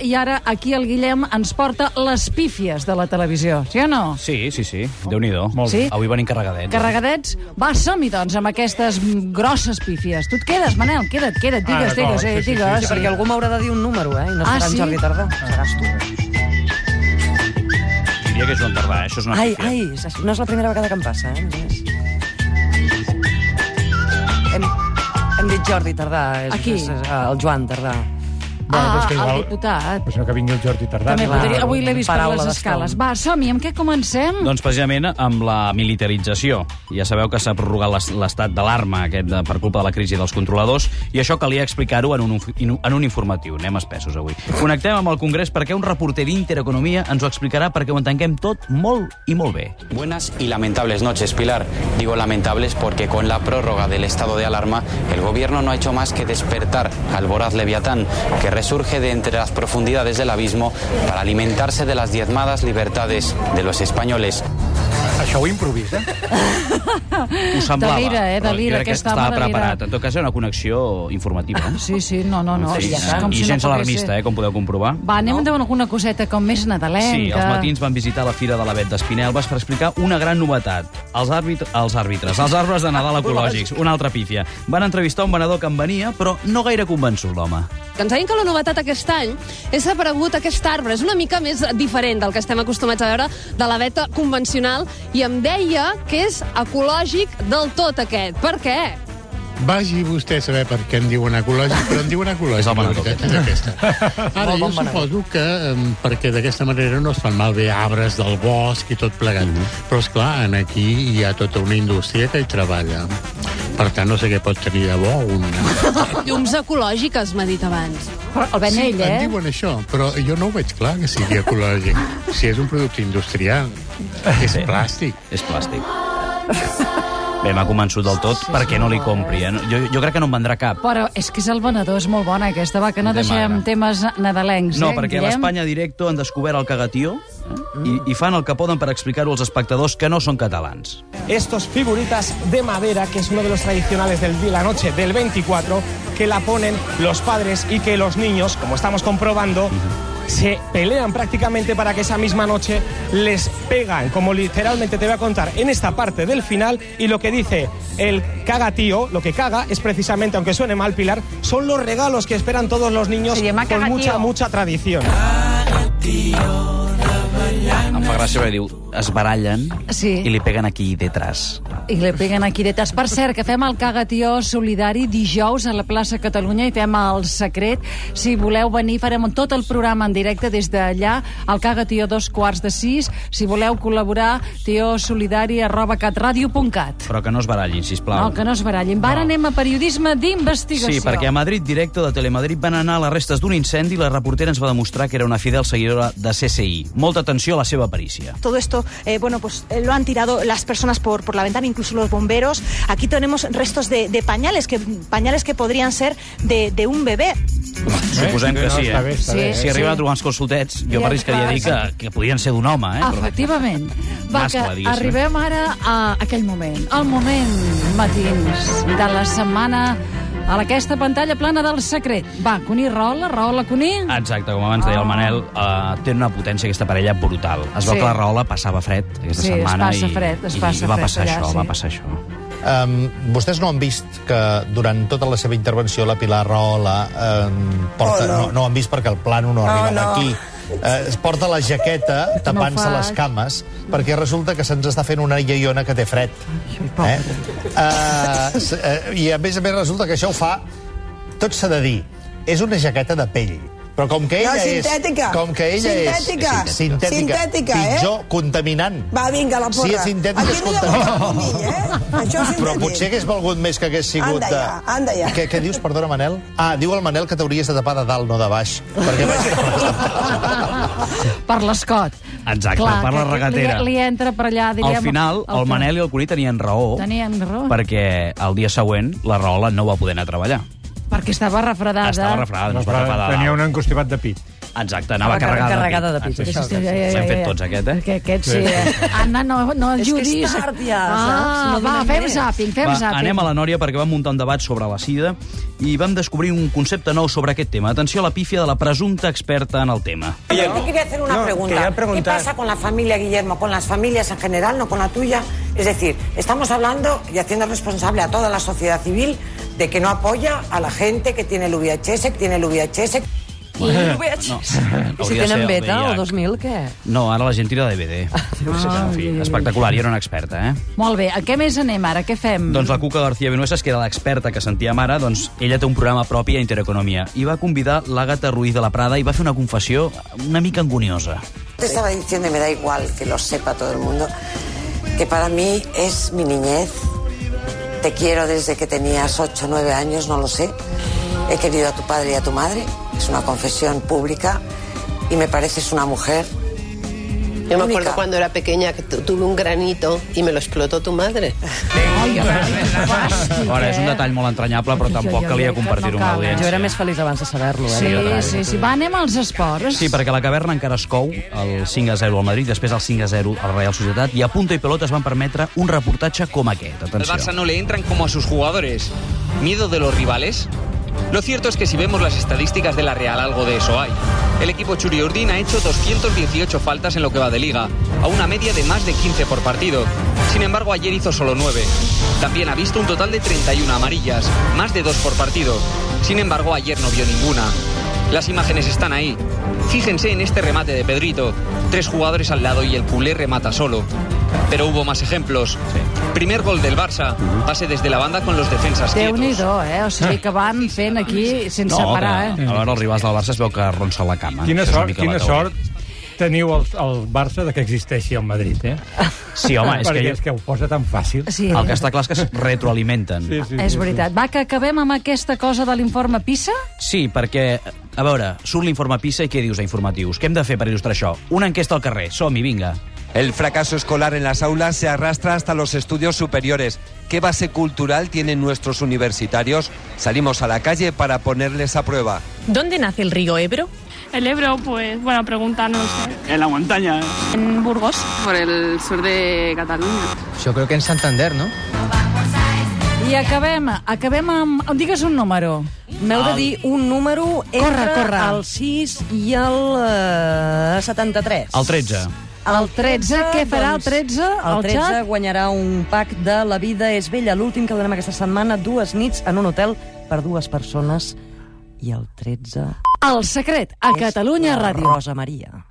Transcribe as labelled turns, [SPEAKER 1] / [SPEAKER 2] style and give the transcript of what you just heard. [SPEAKER 1] i ara aquí el Guillem ens porta les pífies de la televisió, sí o no?
[SPEAKER 2] Sí, sí, sí. Déu-n'hi-do.
[SPEAKER 1] Molt bé. Sí?
[SPEAKER 2] Avui venim carregadets.
[SPEAKER 1] Carregadets? Va, som-hi, doncs, amb aquestes grosses pífies. Tu et quedes, Manel? Queda't, queda't, digues, digues,
[SPEAKER 3] Ah, d'acord,
[SPEAKER 1] eh,
[SPEAKER 3] sí, sí,
[SPEAKER 1] digues.
[SPEAKER 3] sí,
[SPEAKER 4] Perquè algú m'haurà de dir un número, eh? I no
[SPEAKER 1] Ah,
[SPEAKER 4] serà en
[SPEAKER 1] sí?
[SPEAKER 4] Jordi Tardà, seràs tu.
[SPEAKER 2] Diria que és Joan Tardà, eh? això és una
[SPEAKER 4] Ai,
[SPEAKER 2] pífia.
[SPEAKER 4] ai, és així. no és la primera vegada que em passa, eh? a més. Hem, hem dit Jordi Tardà. És,
[SPEAKER 1] Aquí.
[SPEAKER 4] És, és, eh, el Joan Tardà.
[SPEAKER 1] Ah,
[SPEAKER 3] doncs que
[SPEAKER 1] el diputat.
[SPEAKER 3] Pues no, que vingui el Jordi Tardà.
[SPEAKER 1] També
[SPEAKER 3] no?
[SPEAKER 4] clar.
[SPEAKER 1] podria... Avui l'he vist per
[SPEAKER 4] Paraula
[SPEAKER 1] les
[SPEAKER 4] d'estona.
[SPEAKER 1] escales. Va, som-hi, amb què comencem?
[SPEAKER 2] Doncs precisament amb la militarització. Ja sabeu que s'ha prorrogat l'es- l'estat d'alarma aquest de, per culpa de la crisi dels controladors i això calia explicar-ho en, un inf- in- en un informatiu. Anem espessos avui. Connectem amb el Congrés perquè un reporter d'Intereconomia ens ho explicarà perquè ho entenguem tot molt i molt bé.
[SPEAKER 5] Buenas y lamentables noches, Pilar. Digo lamentables porque con la prórroga del estado de alarma, el gobierno no ha hecho más que despertar al voraz leviatán que resurge de entre las profundidades del abismo para alimentarse de las diezmadas libertades de los españoles.
[SPEAKER 3] Això ho improvisa?
[SPEAKER 2] Ho semblava.
[SPEAKER 1] Delira, eh?
[SPEAKER 2] però jo
[SPEAKER 1] Delira,
[SPEAKER 2] crec que
[SPEAKER 1] aquest home
[SPEAKER 2] estava
[SPEAKER 1] delira.
[SPEAKER 2] preparat. En tot cas, era una connexió informativa. eh?
[SPEAKER 1] Sí, sí, no, no, no.
[SPEAKER 2] Sí,
[SPEAKER 1] ja està,
[SPEAKER 2] eh?
[SPEAKER 1] com
[SPEAKER 2] I
[SPEAKER 1] si no
[SPEAKER 2] gens
[SPEAKER 1] pogués
[SPEAKER 2] alarmista,
[SPEAKER 1] ser.
[SPEAKER 2] eh, com podeu comprovar.
[SPEAKER 1] Va, anem no? amb alguna coseta com més nadalenca.
[SPEAKER 2] Sí, els matins van visitar la Fira de l'Avet d'Espinelves per explicar una gran novetat. Els, àrbit... els àrbitres, els arbres de Nadal ecològics, una altra pífia. Van entrevistar un venedor que en venia, però no gaire convençut, l'home.
[SPEAKER 6] que ens deien que la novetat aquest any és aparegut aquest arbre. És una mica més diferent del que estem acostumats a veure de la veta convencional i em deia que és ecològic del tot aquest. Per què?
[SPEAKER 7] Vagi vostè a saber per què en diuen ecològic, però en diuen ecològic,
[SPEAKER 2] És el
[SPEAKER 7] la
[SPEAKER 2] Manel
[SPEAKER 7] veritat és aquesta. Ara,
[SPEAKER 4] Molt
[SPEAKER 7] jo
[SPEAKER 4] bon Manel.
[SPEAKER 7] suposo que em, perquè d'aquesta manera no es fan malbé arbres del bosc i tot plegat. Però, és clar, en aquí hi ha tota una indústria que hi treballa. Per tant, no sé què pot tenir de bo una...
[SPEAKER 6] Llums ecològiques, m'ha dit abans.
[SPEAKER 1] Però el ven ell, eh?
[SPEAKER 7] en diuen això, però jo no ho veig clar que sigui ecològic. Si és un producte industrial, és plàstic.
[SPEAKER 2] És plàstic. Bé, m'ha convençut del tot, sí, perquè no li compri. Eh? No- Jo, jo crec que no en vendrà cap.
[SPEAKER 1] Però és que és el venedor, és molt bona aquesta. Va, que no
[SPEAKER 2] Em té
[SPEAKER 1] deixem
[SPEAKER 2] magre.
[SPEAKER 1] temes nadalencs,
[SPEAKER 2] No,
[SPEAKER 1] eh,
[SPEAKER 2] perquè a
[SPEAKER 1] Guillem?
[SPEAKER 2] l'Espanya Directo han descobert el cagatió eh? I, i fan el que poden per explicar-ho als espectadors que no són catalans.
[SPEAKER 8] estos figuritas de madera, que es uno de los tradicionales del día, la noche del 24, que la ponen los padres y que los niños, como estamos comprobando, se pelean prácticamente para que esa misma noche les pegan, como literalmente te voy a contar en esta parte del final, y lo que dice el cagatío, lo que caga es precisamente, aunque suene mal Pilar, son los regalos que esperan todos los niños
[SPEAKER 9] Se llama
[SPEAKER 8] con mucha,
[SPEAKER 9] cagatío.
[SPEAKER 8] mucha tradición.
[SPEAKER 2] Em fa gràcia perquè diu, es barallen
[SPEAKER 1] Sí.
[SPEAKER 2] i li peguen aquí detrás.
[SPEAKER 1] I li peguen aquí detes. Per cert, que fem el cagatió solidari dijous a la plaça Catalunya i fem el secret. Si voleu venir, farem tot el programa en directe des d'allà, al cagatió dos quarts de sis. Si voleu col·laborar, tiosolidari arroba catradio.cat.
[SPEAKER 2] Però que no es barallin, sisplau.
[SPEAKER 1] No, que no es barallin. Va, ara anem a periodisme d'investigació.
[SPEAKER 2] Sí, perquè a Madrid Directo de Telemadrid van anar a les restes d'un incendi i la reportera ens va demostrar que era una fidel seguidora de CCI. Molta atenció a la seva aparícia.
[SPEAKER 10] Todo esto, eh, bueno, pues eh, lo han tirado las personas por, por la ventana, incluso los bomberos. Aquí tenemos restos de, de pañales, que, pañales que podrían ser de, de un bebé.
[SPEAKER 2] Suposem que sí,
[SPEAKER 3] Està bé,
[SPEAKER 2] eh?
[SPEAKER 3] està bé.
[SPEAKER 1] Sí.
[SPEAKER 2] Si arriben a trobar uns consultets, jo
[SPEAKER 1] Ja
[SPEAKER 2] m'arriscaria a dir que,
[SPEAKER 1] està.
[SPEAKER 2] que podien ser d'un home, eh? Però-
[SPEAKER 1] Efectivament. Va,
[SPEAKER 2] Mascle,
[SPEAKER 1] que
[SPEAKER 2] diguéssim.
[SPEAKER 1] arribem ara a aquell moment, el moment matins de la setmana a aquesta pantalla plana del secret. Va, Cuní, raola, raola, Cuní.
[SPEAKER 2] Exacte, com abans deia el Manel, eh, té una potència aquesta parella brutal. Es veu
[SPEAKER 1] Sí.
[SPEAKER 2] que la Rahola passava fred aquesta
[SPEAKER 1] Sí, es
[SPEAKER 2] setmana
[SPEAKER 1] passa
[SPEAKER 2] i,
[SPEAKER 1] fred, es
[SPEAKER 2] i
[SPEAKER 1] passa
[SPEAKER 2] va
[SPEAKER 1] fred
[SPEAKER 2] passar
[SPEAKER 1] allà,
[SPEAKER 2] això,
[SPEAKER 1] sí.
[SPEAKER 2] va passar això.
[SPEAKER 11] Um, vostès no han vist que durant tota la seva intervenció la Pilar Rahola um, porta,
[SPEAKER 4] Oh, no.
[SPEAKER 11] no. No, no han vist perquè el plano no arriba
[SPEAKER 4] no.
[SPEAKER 11] aquí eh, es porta la jaqueta tapant-se
[SPEAKER 1] faig.
[SPEAKER 11] les cames perquè resulta que se'ns està fent una iaiona que té fred eh? Uh, s- eh, i a més a més resulta que això ho fa tot s'ha de dir, és una jaqueta de pell però com que
[SPEAKER 9] No,
[SPEAKER 11] ella
[SPEAKER 9] sintètica.
[SPEAKER 11] és... Com que ella
[SPEAKER 9] Sintètica.
[SPEAKER 11] és... Sintètica.
[SPEAKER 9] Sintètica, eh?
[SPEAKER 11] Pitjor, contaminant.
[SPEAKER 9] Va, vinga, la porra.
[SPEAKER 11] Si és sintètic,
[SPEAKER 9] Aquí
[SPEAKER 11] és
[SPEAKER 9] no hi ha
[SPEAKER 11] contaminant.
[SPEAKER 9] un conill, eh? Això és
[SPEAKER 11] Però
[SPEAKER 9] sintètic.
[SPEAKER 11] potser hagués valgut més que hagués sigut...
[SPEAKER 9] Anda ja,
[SPEAKER 11] de-
[SPEAKER 9] anda ja.
[SPEAKER 11] Què, què dius, perdona, Manel? Ah, diu el Manel que t'hauries de tapar de dalt, no de baix. Perquè vaig...
[SPEAKER 1] Per l'escot.
[SPEAKER 2] Exacte, per la
[SPEAKER 1] que
[SPEAKER 2] regatera.
[SPEAKER 1] Li, li entra per allà, diríem...
[SPEAKER 2] Al final, el Manel i el Cuní tenien raó,
[SPEAKER 1] Tenien raó.
[SPEAKER 2] perquè el dia següent la Rahola no va poder anar a treballar.
[SPEAKER 1] Perquè estava refredada.
[SPEAKER 2] Estava refredada, no es va Ah, tapar de
[SPEAKER 3] Tenia
[SPEAKER 2] dalt.
[SPEAKER 3] un encostipat de pit.
[SPEAKER 2] Exacte, anava
[SPEAKER 1] Anava
[SPEAKER 2] carregada,
[SPEAKER 1] carregada de pizza.
[SPEAKER 2] Això,
[SPEAKER 1] Sí, sí, sí, ja, ja,
[SPEAKER 2] L'hem fet
[SPEAKER 1] ja.
[SPEAKER 2] tots, aquest, eh?
[SPEAKER 1] Aquest sí, eh? Anna, no, no el
[SPEAKER 4] És que és
[SPEAKER 1] judis.
[SPEAKER 4] tard ja, saps?
[SPEAKER 1] Ah,
[SPEAKER 4] No
[SPEAKER 1] va,
[SPEAKER 4] donem
[SPEAKER 1] fem
[SPEAKER 4] més.
[SPEAKER 1] zàping, fem
[SPEAKER 2] Va,
[SPEAKER 1] zàping.
[SPEAKER 2] anem a la Nòria perquè vam muntar un debat sobre la sida i vam descobrir un concepte nou sobre aquest tema. Atenció a la pífia de la presumpta experta en el tema.
[SPEAKER 12] eh? Yo quería hacer una
[SPEAKER 2] No,
[SPEAKER 12] pregunta.
[SPEAKER 2] quería preguntar.
[SPEAKER 12] ¿Qué pasa con la familia, Guillermo? Con las familias en general, no con la tuya. Es decir, estamos hablando y haciendo responsable a toda la sociedad civil de que no apoya a la gente que tiene el VIHS, que tiene el VIHS.
[SPEAKER 2] Bueno,
[SPEAKER 12] No.
[SPEAKER 2] Hauria de ser el VIH.
[SPEAKER 4] 2000, què?
[SPEAKER 2] No, ara la gent tira de DVD.
[SPEAKER 1] Ah,
[SPEAKER 2] en fi, espectacular, i era una experta, eh?
[SPEAKER 1] Molt bé, a què més anem ara? Què fem?
[SPEAKER 2] Doncs la Cuca García Vinuesas, que era l'experta que sentíem ara, doncs ella té un programa propi a Intereconomia i va convidar l'Àgata Ruiz de la Prada i va fer una confessió una mica angoniosa.
[SPEAKER 12] Te estaba diciendo, y me da igual que lo sepa todo el mundo, que para mí es mi niñez. Te quiero desde que tenías 8, 9 años, no lo sé. He querido a tu padre y a tu madre. Es una confesión pública y me pareces una mujer.
[SPEAKER 13] Yo me
[SPEAKER 12] única.
[SPEAKER 13] acuerdo cuando era pequeña que tu- tuve un granito y me lo explotó tu madre.
[SPEAKER 2] Ara, és un detall molt entranyable, però tampoc calia compartir-ho amb
[SPEAKER 4] Jo
[SPEAKER 1] eh?
[SPEAKER 2] l'audiència.
[SPEAKER 4] era més feliç abans de saber-lo, eh?
[SPEAKER 1] Sí,
[SPEAKER 2] jo també.
[SPEAKER 1] sí, sí. Va, anem als esports.
[SPEAKER 2] Sí, perquè la caverna encara es cou, el 5 a 0 al Madrid, després el 5 a 0 al Real Societat, i a punta i pelota es van permetre un reportatge com aquest.
[SPEAKER 14] Al
[SPEAKER 2] Atenció.
[SPEAKER 14] Barça no le entran como a sus jugadores. ¿Miedo de los rivales? Lo cierto es que si vemos las estadísticas de la Real, algo de eso hay. El equipo Churiurdin ha hecho 218 faltas en lo que va de liga, a una media de más de 15 por partido. Sin embargo, ayer hizo solo 9. También ha visto un total de 31 amarillas, más de 2 por partido. Sin embargo, ayer no vio ninguna. Las imágenes están ahí. Fíjense en este remate de Pedrito. Tres jugadores al lado y el culé remata solo. Pero hubo más ejemplos. Primer gol del Barça. Pase desde la banda con los defensas
[SPEAKER 1] déu
[SPEAKER 14] quietos.
[SPEAKER 1] nhi eh? O sigui que van fent aquí sense
[SPEAKER 2] No,
[SPEAKER 1] parar, eh?
[SPEAKER 2] però, a veure, els rivals del Barça es veu que ronça la cama.
[SPEAKER 3] Quina
[SPEAKER 2] Això és una
[SPEAKER 3] sort,
[SPEAKER 2] mica la
[SPEAKER 3] quina
[SPEAKER 2] teoria.
[SPEAKER 3] sort teniu el, el Barça de que existeixi el Madrid, eh?
[SPEAKER 2] Sí, home, és que
[SPEAKER 3] Perquè
[SPEAKER 2] jo-
[SPEAKER 3] és que ho posa tan fàcil.
[SPEAKER 1] Sí.
[SPEAKER 2] El que està clar és que es retroalimenten. Sí,
[SPEAKER 1] És veritat. Va, que acabem amb aquesta cosa de l'informe PISA?
[SPEAKER 2] Sí, perquè, a veure, surt l'informe PISA i què dius a informatius? Què hem de fer per il·lustrar això? Una enquesta al carrer. Som-hi, vinga.
[SPEAKER 15] El fracaso escolar en las aulas se arrastra hasta los estudios superiores. ¿Qué base cultural tienen nuestros universitarios? Salimos a la calle para ponerles a prueba.
[SPEAKER 16] ¿Dónde nace el río Ebro? El Ebro, pues, buena pregunta, no sé. En la montaña. En Burgos. Por el sur de Cataluña.
[SPEAKER 17] Yo creo que en Santander, ¿no?
[SPEAKER 1] I acabem, acabem amb... Digues un número.
[SPEAKER 4] M'heu de dir un número entre
[SPEAKER 1] Corre, corre.
[SPEAKER 4] el 6 i el eh, 73.
[SPEAKER 2] El 13.
[SPEAKER 4] El 13,
[SPEAKER 1] què farà
[SPEAKER 12] doncs,
[SPEAKER 1] el 13
[SPEAKER 4] Ah, doncs, El
[SPEAKER 1] al
[SPEAKER 4] 13
[SPEAKER 1] xat?
[SPEAKER 4] guanyarà un pack de La vida és vella, l'últim que donem aquesta setmana, dues nits en un hotel per dues persones, i el 13
[SPEAKER 1] El secret a Catalunya
[SPEAKER 4] la
[SPEAKER 1] Ràdio.
[SPEAKER 4] Rosa Maria.